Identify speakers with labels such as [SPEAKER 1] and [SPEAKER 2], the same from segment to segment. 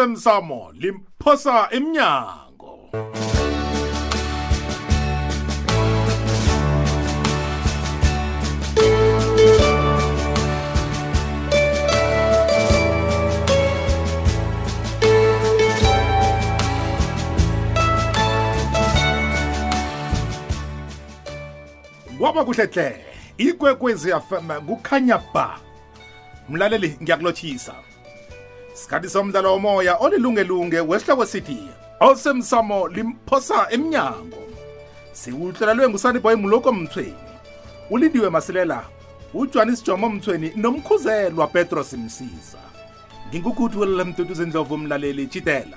[SPEAKER 1] awusemsamo limphosa emnyango kwaba kuhle hle ikwekwezi fm kukhanya ba mlaleli ngiyakulotshisa sikhathi somdlalo womoya olilungelunge wesihloko sithi osemsamo limphosa emnyango siwuhlolalwe ngusaniboy muloko mthweni ulindiwe masilela ujohanis jomo mthweni nomkhuzelwa petros msiza ngingukhuthi welela mduduze ndlovu mlaleli chitela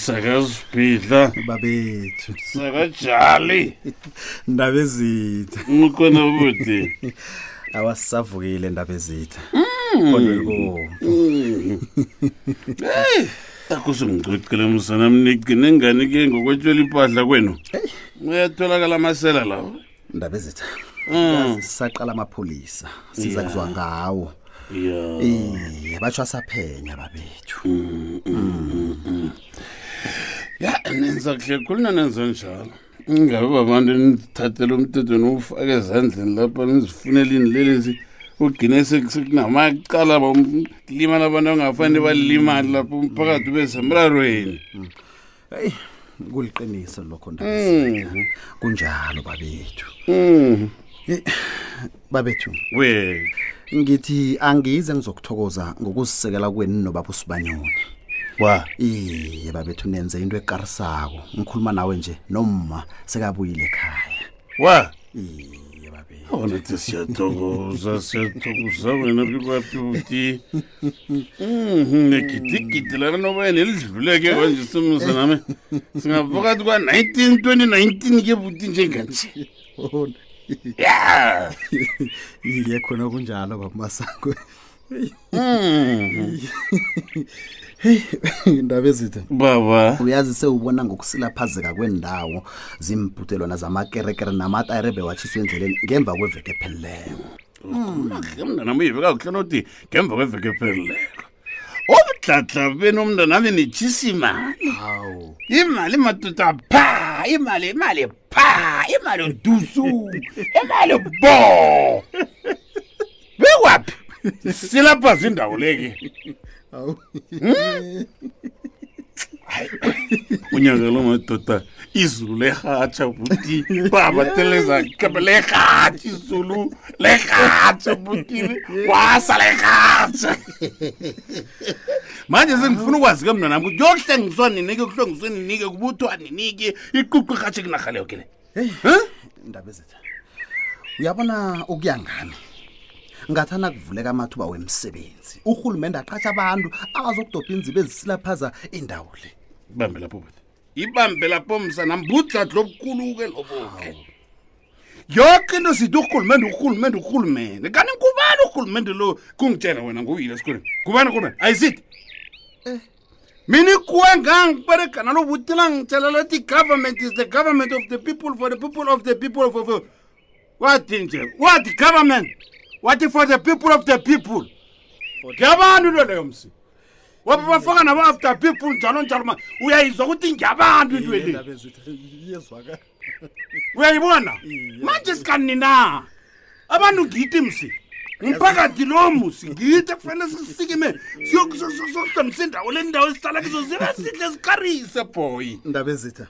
[SPEAKER 2] msakazibhidla
[SPEAKER 3] babethu
[SPEAKER 2] msakajali
[SPEAKER 3] ndaba ezitha
[SPEAKER 2] mkona bude
[SPEAKER 3] awasisavukile ndaba ezitha odwelbo
[SPEAKER 2] akusungicocile msana mnigcine ngani ke ngokwetshela impahla kwenu uyatholakala amasela lawo
[SPEAKER 3] ndaba ezitha
[SPEAKER 2] Mm,
[SPEAKER 3] sisaqala amapholisa siza
[SPEAKER 2] Ya.
[SPEAKER 3] kuzwa ngawo
[SPEAKER 2] ya
[SPEAKER 3] iye batsho asaphenya babethu
[SPEAKER 2] ya nenza kuhle khulu nanenza njalo ingabe babantu nithathele umthetho niwufake ezandleni lapha nizifunelini lelezi ugcine sekunamacala um, limala abantu ongafanele balimali lapho umphakathi ube semrarweni
[SPEAKER 3] heyi kuliqiniso lokho ndaba ezitha.
[SPEAKER 2] Mm,
[SPEAKER 3] kunjalo babethu
[SPEAKER 2] mm.
[SPEAKER 3] Eh, babethu
[SPEAKER 2] we
[SPEAKER 3] ngithi angize ngizokuthokoza ngokuzisekela kweni nobaba usibanyoni
[SPEAKER 2] wa
[SPEAKER 3] iye babethu nenze into ekarisako ngikhuluma nawe nje noma sekabuyile ekhaya
[SPEAKER 2] wa
[SPEAKER 3] iye babethu
[SPEAKER 2] ona Oh, te siyathokoza siyathokoza wena bikwapiuti Mm-hmm, negidigidi lana noba nelidluleke kwanje simuse nami singaphakathi kwa-nineteen twenty nineteen ke buti njenganje
[SPEAKER 3] Hona.
[SPEAKER 2] ya
[SPEAKER 3] iye khona kunjalo bamasango
[SPEAKER 2] Mm-hmm.
[SPEAKER 3] indaba ezithe
[SPEAKER 2] baba
[SPEAKER 3] uyazi sewubona ngokusilaphazeka kwendawo zimbhudelwana zamakerekere namatayirebe watshiswa endleleni ngemva kweveke ephelileyo
[SPEAKER 2] kuhle mntanami uyibeka kuhle nothi ngemva kweveke ephelileko Oh, obudladla benu mntanami nitshisa imali
[SPEAKER 3] hawu
[SPEAKER 2] imali madoda pha imali imali pha imali ndusu imali bo bekwaphi silapha zindawo leke
[SPEAKER 3] hawu
[SPEAKER 2] Hmm? unyaka lo madoda izulu lerhatsha buti baba telezakebe lerhatsha izulu lerhatsha buti wasa lerhatsha manje sengifuna ukwazi ke mnanami ukuthi kuyohlengiswa ninike kuhlengiswe ninike kubuthwa ninike iququ irhatshe kunarhaleyo ke le Huh?
[SPEAKER 3] indaba ezithe uyabona ukuya ngami ngathana kuvuleka amathuba wemsebenzi urhulumente aqhatsha abantu abazokudobha inziba ezisilaphaza indawo le
[SPEAKER 2] ibambe lapho baba ibambe lapho msanam budladla obukhulu-ke lobo-ke yoke into sithi urhulumente urhulumente urhulumente kanti ngubani urhulumente lo kungitshela wena nguyile esikolweni ngubani urhulumente ayisithi mina ikuwe ngangiberega nalo butila ngitshela lati government is the government of the people for the people of the people for, for. wathi nje wathi government wathi for the people of the people ngeyabantu into leyo msi waba bafaka nabo-after people njalo njalo ma uyayizwa ukuthi ngeyabantu into le uyayibona manje sikani na abantu ngithi msi umphakathi lo musi ngithi kufanele sisikime siyokuhlanisa indawo le ndawo esihlala kizo zibe sihle zikarise boy
[SPEAKER 3] indaba ezithe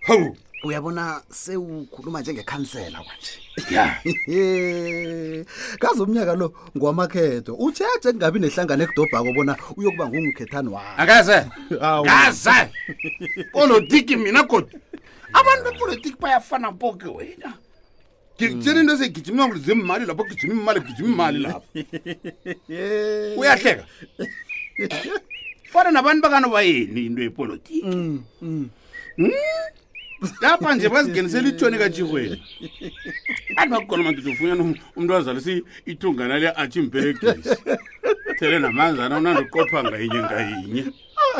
[SPEAKER 2] hawu
[SPEAKER 3] uyabona sewukhuluma njengekhansela kwanje
[SPEAKER 2] ya
[SPEAKER 3] kaze umnyaka lo ngowamakhetho utsheje kungabi nehlangano ekudobhako bona uyokuba ngungukhethani wakho
[SPEAKER 2] akaze
[SPEAKER 3] Hawu.
[SPEAKER 2] kaze polotiki mina kodwa abantu bepolitiki bayafana boke wena ngikutshela into segijima ngokuthi zimmali lapho gijima imali gijima imali lapho uyahleka
[SPEAKER 3] Mm,
[SPEAKER 2] fana nabantu bakanobayeni into yepolitiki lapha nje bazingenisela itshoni kajihweni anti bakugona madoda ufunyana umntu wazalisa ithungana le-achimberegisi thele namanzana unandiqopha ngayinye ngayinye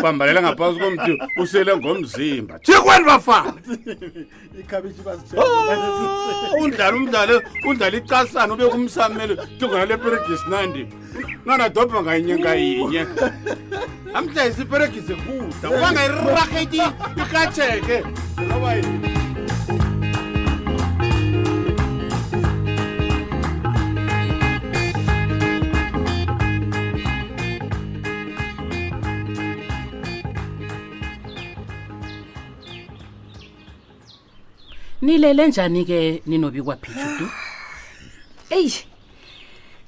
[SPEAKER 2] bambalela ngaphasi komthi usele ngomzimba jihweni bafana
[SPEAKER 1] ikhabishi
[SPEAKER 2] Oh, undlala umdlalo undlala icasana ube kumsamelo thungana leperegisi nandi nanadobha ngayinye ngayinye amhlahisa iperegisi kuda ubangayirakheti ikatsheke noba yini
[SPEAKER 4] nilele njani ke ninobi kwaphijudu
[SPEAKER 5] eyi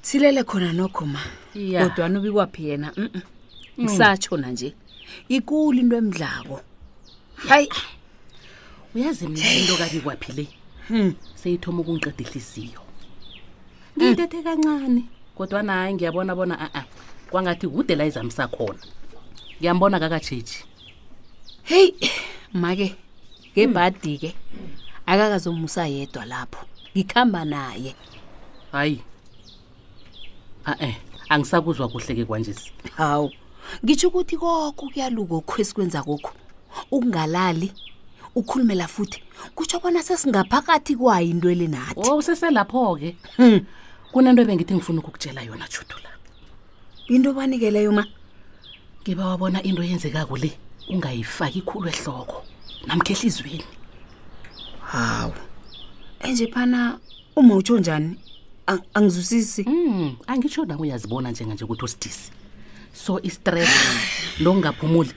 [SPEAKER 5] silele khona nokho ma
[SPEAKER 4] Ya.
[SPEAKER 5] kodwana ubikwaphi yena mm ngisatshona nje ikulu into emdlako hayi
[SPEAKER 4] uyazi mina into kabi kwaphi le seyithoma ukungiqeda ihliziyo ngiyithethe kancane kodwana hayi ngiyabona bona a-a kwangathi kude la izamisa khona ngiyambona kakajeji
[SPEAKER 5] heyi make ngebhadi-ke akakazomusa yedwa lapho ngikuhamba naye
[SPEAKER 4] hayi a-e angisakuzwa kuhle ke kwanjesi
[SPEAKER 5] hawu ngitsho ukuthi koko kuyaluka okho esikwenza kokho ukungalali ukhulumela futhi kutsho bona sesingaphakathi kwayo into Hmm, elenathi
[SPEAKER 4] o useselapho-ke Oh, kunento ebengithi ngifuna ukukutshela yona judula
[SPEAKER 5] into obanikeleyo ma
[SPEAKER 4] ngiba wabona into eyenzekako le ungayifaki ikhulu ehloko namkhehlizweni
[SPEAKER 5] hawu enje phana uma utsho njani Ang- angizwisisi
[SPEAKER 4] Mm, angitsho nawe uyazibona njenganje ukuthi usidisi so istress lokungaphumuli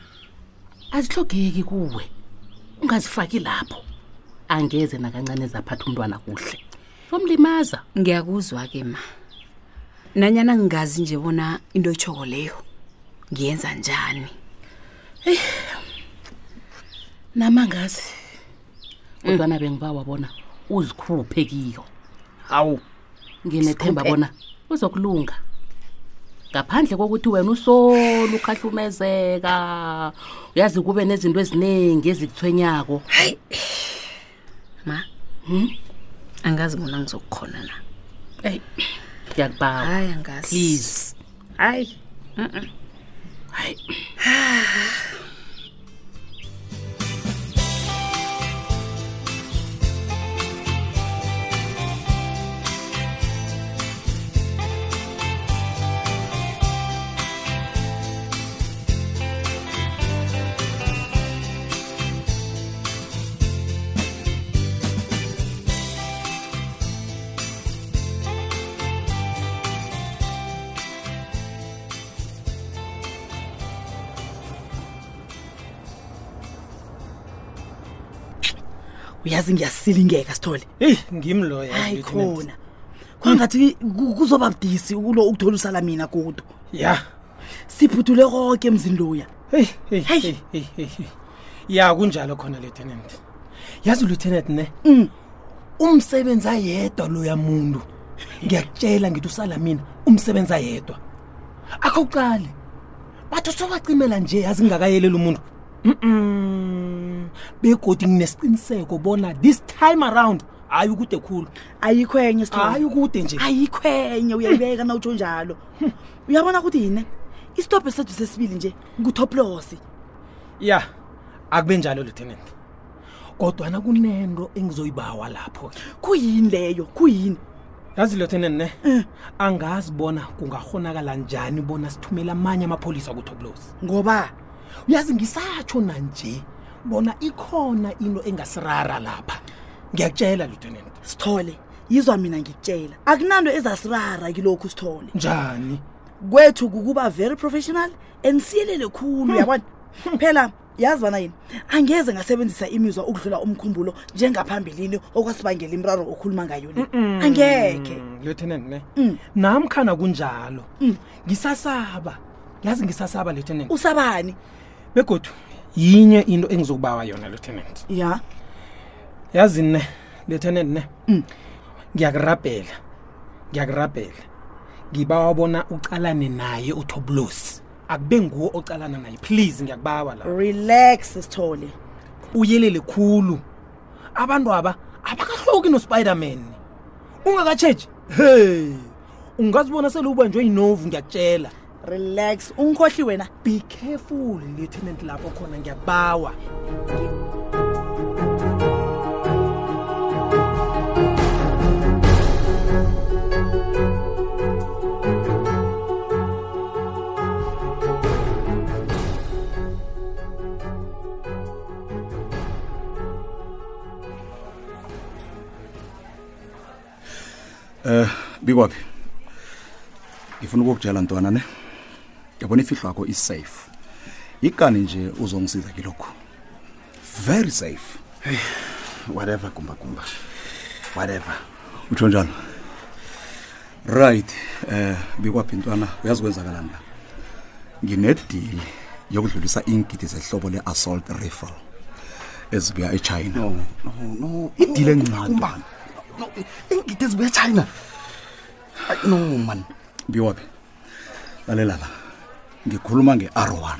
[SPEAKER 4] azihlogeki kuwe ungazifaki lapho angeze nakancane zaphatha umntwana kuhle somlimaza
[SPEAKER 5] ngiyakuzwa ke ma nanyana ngingazi nje bona into etshoko leyo ngiyenza njani
[SPEAKER 4] namangazi kodwana bengiba wabona uzikhuphe kiyo hawu nginethemba
[SPEAKER 5] Sikhuphe.
[SPEAKER 4] bona uzokulunga ngaphandle kokuthi wena usolo ukhahlumezeka uyazi kube nezinto eziningi ezikuthwenyako
[SPEAKER 5] ma Hmm? angazi bona ngizokukhona na
[SPEAKER 4] eyi ngiyakubawa
[SPEAKER 5] hayi angazi
[SPEAKER 4] please
[SPEAKER 5] hayi
[SPEAKER 4] hayi
[SPEAKER 6] uyazi ngiyasilingeka sithole
[SPEAKER 7] eyi ngimi loyo
[SPEAKER 6] hayi khona kwangathi ku- kuzoba budisi kulo ukuthola usala mina kudo
[SPEAKER 7] ya
[SPEAKER 6] siphuthule konke emzini loya
[SPEAKER 7] heyi heyi
[SPEAKER 6] Hey.
[SPEAKER 7] heyi heyi heyi ya kunjalo khona lieutenant yazi lieutenant ne
[SPEAKER 6] Mm.
[SPEAKER 7] umsebenzi ayedwa loya muntu ngiyakutshela ngithi usala mina umsebenzi ayedwa akho uqale bathi sobacimela nje yazi ngingakayeleli umuntu mm begodi nginesiqiniseko bona this time around hayi ukude khulu
[SPEAKER 6] ayikho enye Sithole.
[SPEAKER 7] hayi ukude nje
[SPEAKER 6] ayikho enye uyayibeka na utsho njalo uyabona ukuthi yini isitobhe sethu sesibili nje ngutoplosi
[SPEAKER 7] ya akube njalo lieutenant kodwana kunento engizoyibawa lapho-ke
[SPEAKER 6] kuyini leyo kuyini
[SPEAKER 7] yazi lieutenant ne angazi bona kungahonakala njani bona sithumele amanye amapholisa kutoblosi
[SPEAKER 6] ngoba
[SPEAKER 7] uyazi ngisatsho nanje bona ikhona into engasirara lapha ngiyakutshela lieutenant
[SPEAKER 6] sithole yizwa mina ngikutshela akunanto ezasirara kilokhu sithole
[SPEAKER 7] njani
[SPEAKER 6] kwethu kukuba very professional and siyelele khulu yabona phela yazi bana yini angeze ngasebenzisa imizwa ukudlula umkhumbulo njengaphambilini okwasibangela imraro okhuluma ngayo le angekhe
[SPEAKER 7] Mm, lieutenant ne
[SPEAKER 6] Mm.
[SPEAKER 7] namkhana kunjalo ngisasaba yazi ngisasaba lieutenant
[SPEAKER 6] usabani
[SPEAKER 7] begodu yinye into engizokubawa yona lieutenant
[SPEAKER 6] ya
[SPEAKER 7] yazi ne lieutenant ne
[SPEAKER 6] Mm.
[SPEAKER 7] ngiyakurabhela ngiyakurabhela ngibawa bona ucalane naye utoblosi akube nguwo ocalana naye please ngiyakubawa la
[SPEAKER 6] relax sithole
[SPEAKER 7] uyelele khulu abantu aba abakahloki nospiderman ungakatshetshi hey ungazibona sele ubanjwe yinovu ngiyakutshela
[SPEAKER 6] relax ungikhohli wena
[SPEAKER 7] be careful lieutenant lapho khona ngiyakubawa
[SPEAKER 8] bikwaphi ngifuna ukukutshela ntwana ne yabona ifihlo yakho isafe ikani nje uzongisiza kilokho very safe
[SPEAKER 3] whatever gumbagumba whatever
[SPEAKER 8] utsho njalo right eh bikwaphi ntwana uyazikwenzakalani la nginedili yokudlulisa iingidi zehlobo le-assault rifle ezibuya echina
[SPEAKER 3] no no no Oh,
[SPEAKER 8] Idile engcado.
[SPEAKER 3] Gumbagumba, no ingidi ezibuya china no man
[SPEAKER 8] biwaphi lalela la ngikhuluma nge-r1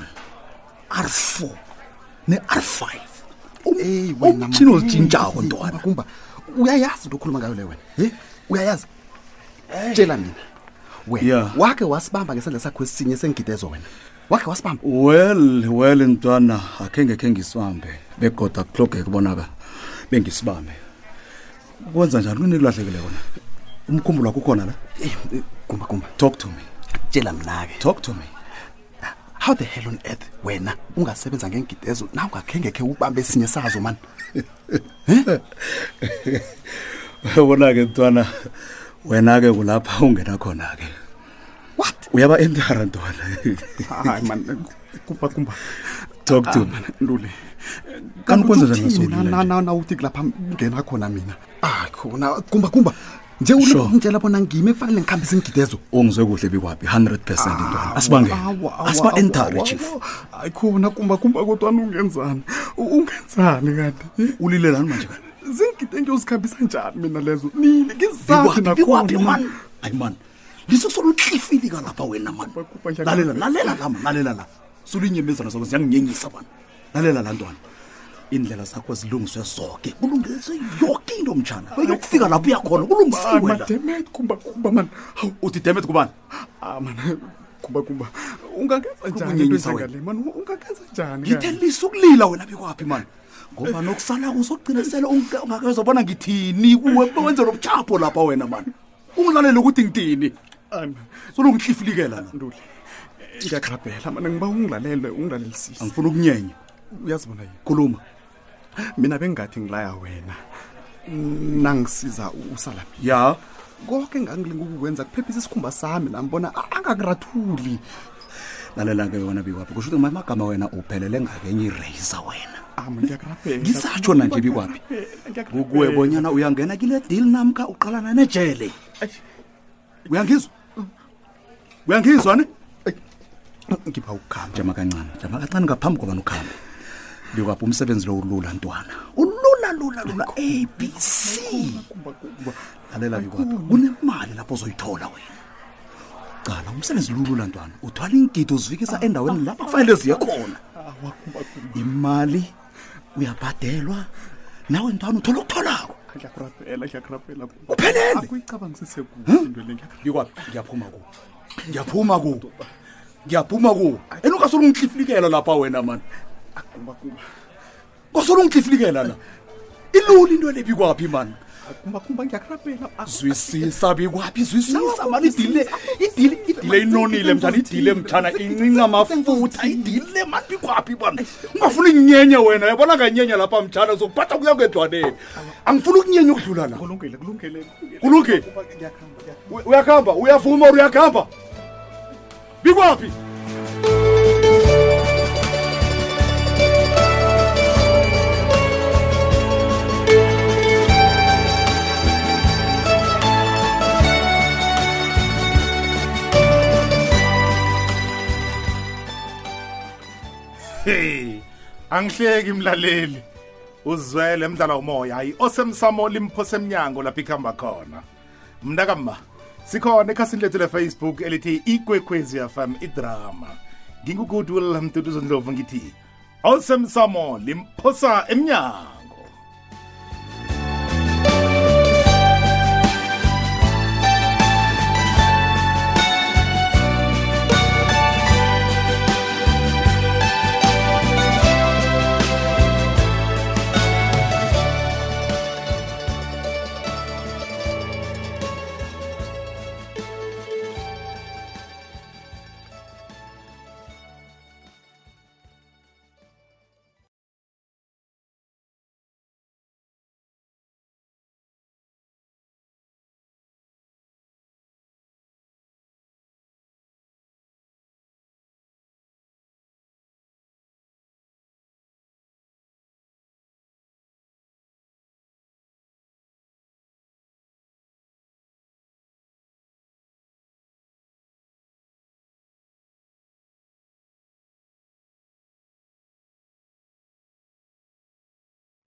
[SPEAKER 3] r4
[SPEAKER 8] ne-r5 Um,
[SPEAKER 3] Ey, Eh, wena
[SPEAKER 8] umtshini
[SPEAKER 3] man.
[SPEAKER 8] ozitshintshako
[SPEAKER 3] Hey,
[SPEAKER 8] ntwana Eh?
[SPEAKER 3] Gumbagumba, uyayazi into okhuluma ngayo le wena he uyayazi tshela mina wena
[SPEAKER 8] Yeah.
[SPEAKER 3] wakhe wasibamba ngesandla sakho esinye sengidezo wena wakhe wasibamba
[SPEAKER 8] well well ntwana akhe ngekhe ngisibambe begoda kuhlogeka kubonaka bengisibambe kwenza njani kunini kulahlekile kona umkhumbulo wakho ukhona la
[SPEAKER 3] Eh, gumbagumba
[SPEAKER 8] talk to me
[SPEAKER 3] tshela mna-ke
[SPEAKER 8] talk to me
[SPEAKER 3] how the hell on earth wena ungasebenza ngengidezo naw ungakhengekhe ubambe esinye sazo mani
[SPEAKER 8] yabona ke ntwana wena ke kulapha ungena khona ke
[SPEAKER 3] what
[SPEAKER 8] uyaba entara ntwana
[SPEAKER 3] hayi mani gumbagumba
[SPEAKER 8] talk to me
[SPEAKER 3] ntule
[SPEAKER 8] Kanti ukwenza
[SPEAKER 3] Ah, Kanti
[SPEAKER 8] njani ngaso
[SPEAKER 3] uthini?
[SPEAKER 8] lula
[SPEAKER 3] Na-
[SPEAKER 8] nje?
[SPEAKER 3] na- nawuthi kulapha ngena khona mina ah khona gumbagumba nje
[SPEAKER 8] Sure.
[SPEAKER 3] ulungitshela bona ngime kufanele ngikhambise ingidezo
[SPEAKER 8] ungizwe kuhle bikwaphi 100 percent
[SPEAKER 3] Ah,
[SPEAKER 8] ntwana asibangene asiba-entare chief
[SPEAKER 3] hayi khona kumbakumba kodwani ungenzani U- ungenzani kanti
[SPEAKER 8] ulilelani manje kani
[SPEAKER 3] zingide ngiyozikhambisa njani mina lezo nini ngizazi
[SPEAKER 8] bikwaphi bikwaphi
[SPEAKER 3] nakhona
[SPEAKER 8] mani
[SPEAKER 3] man.
[SPEAKER 8] hayi mani lisesolutlifili kalapha wena mani
[SPEAKER 3] Kubha, kubha,
[SPEAKER 8] lalela lalela la mani lalela la sulinyembezana zakho ziyanginyenyisa bani lalela la ntwana indlela zakho zilungiswe zonke kulungiswe yonke into mtshana yokufika lapho uyakhona
[SPEAKER 3] Hayi,
[SPEAKER 8] kulungisiwe
[SPEAKER 3] man,
[SPEAKER 8] la
[SPEAKER 3] damn it, kumbakumba mani hawu
[SPEAKER 8] uthi demet kubani
[SPEAKER 3] ah man kumbakumba ungangenza njani into
[SPEAKER 8] Ukunyenyisa wena.
[SPEAKER 3] njengale mani ungangenza njani
[SPEAKER 8] ngithe
[SPEAKER 3] kanti?
[SPEAKER 8] lise ukulila wena bikwaphi mani ngoba nokusalako uzogcinisele ungakezobona ngithini kuwe wenze nobuchapho lapha wena mani ungilalele ukuthi ngithini
[SPEAKER 3] Hayi, man,
[SPEAKER 8] solongihlifilikela la
[SPEAKER 3] ntuli ngiyagrabhela mana ngiba ungilalele ungilalelisise
[SPEAKER 8] angifuna ukunyenya
[SPEAKER 3] uyazibona yini
[SPEAKER 8] khuluma
[SPEAKER 3] mina bengingathi ngilaya wena nangisiza u- usalamini
[SPEAKER 8] ya
[SPEAKER 3] konke engangilinga ukukwenza kuphephisa isikhumba sami nambona a- angakurathuli
[SPEAKER 8] lalela ke wena bikwaphi kusho ukuthi mamagama wena uphelele ngakenye ireyisa wena
[SPEAKER 3] ama ngiyakurabhela
[SPEAKER 8] ngisatsho nanje bikwaphi kukuwe bonyana uyangena kile dili namkha uqalana nejele uyangizwa uyangizwa ne
[SPEAKER 3] ngipha ukukhamba
[SPEAKER 8] jama kancane jama kancane ngaphambi kobana ukhambe bikwaphi umsebenzi lo ulula ntwana ulula lula lula abc lalela bikwaphi kunemali lapho ozoyithola wena cala umsebenzi lulula ntwana uthwala iingido uzifikisa endaweni lapho kufanele ziye khona imali uyabhadelwa nawe ntwana uthola okutholako
[SPEAKER 3] ngiyakurabhela ngiyakurabhela
[SPEAKER 8] Kuphelele.
[SPEAKER 3] akuyicabangisise kuhle into le ngiyakurabhela.
[SPEAKER 8] bikwaphi ngiyaphuma kuwo ngiyaphuma kuwo ngiyaphuma kuwo eni ungasolungihlifilikela lapha wena mani
[SPEAKER 3] Kumbakumba.
[SPEAKER 8] ngasolungihlifilikela la ilula into le bikwaphi mani
[SPEAKER 3] kumbakumba ngiyakurabhela
[SPEAKER 8] zwisisa bikwaphi zwisisa mani idile idile idile inonile mtshana idile mtshana incinca amafutha idile mani bikwaphi bani ungafuni ukunyenye wena uyabona nganyenya lapha mtshana zokuphatha kuya kwedwaneni angifuni ukunyenya ukudlula la
[SPEAKER 3] kulungile kulungile
[SPEAKER 8] kulunge
[SPEAKER 3] ngiyakhamba ngiyakhamba
[SPEAKER 8] U- uyakhamba uyavuma or uyakhamba bikwaphi
[SPEAKER 9] Hey, angihleki mlaleli. Uzwele emdlalo umoya, hayi osemsamo limphose eminyango lapha ikhamba khona. Mna kama sikhona ekhasini lethu le-Facebook elithi ikwekwezi FM idrama. Ngingugood Wilhelm Dudu Ndlovu ngithi osemsamo limphosa eminyango.